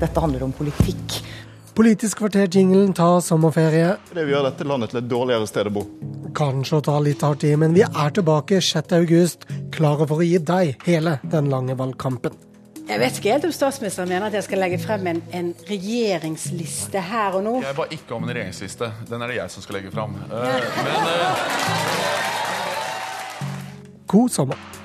Dette handler om politikk. Politisk kvarter-jinglen tar sommerferie. Det vil gjøre dette landet til et dårligere sted å bo. Kanskje å ta litt hardt i, men vi er tilbake 6.8, klare for å gi deg hele den lange valgkampen. Jeg vet ikke helt om statsministeren mener at jeg skal legge frem en, en regjeringsliste her og nå. Jeg ba ikke om en regjeringsliste. Den er det jeg som skal legge fram. Eh, Men eh, God sommer.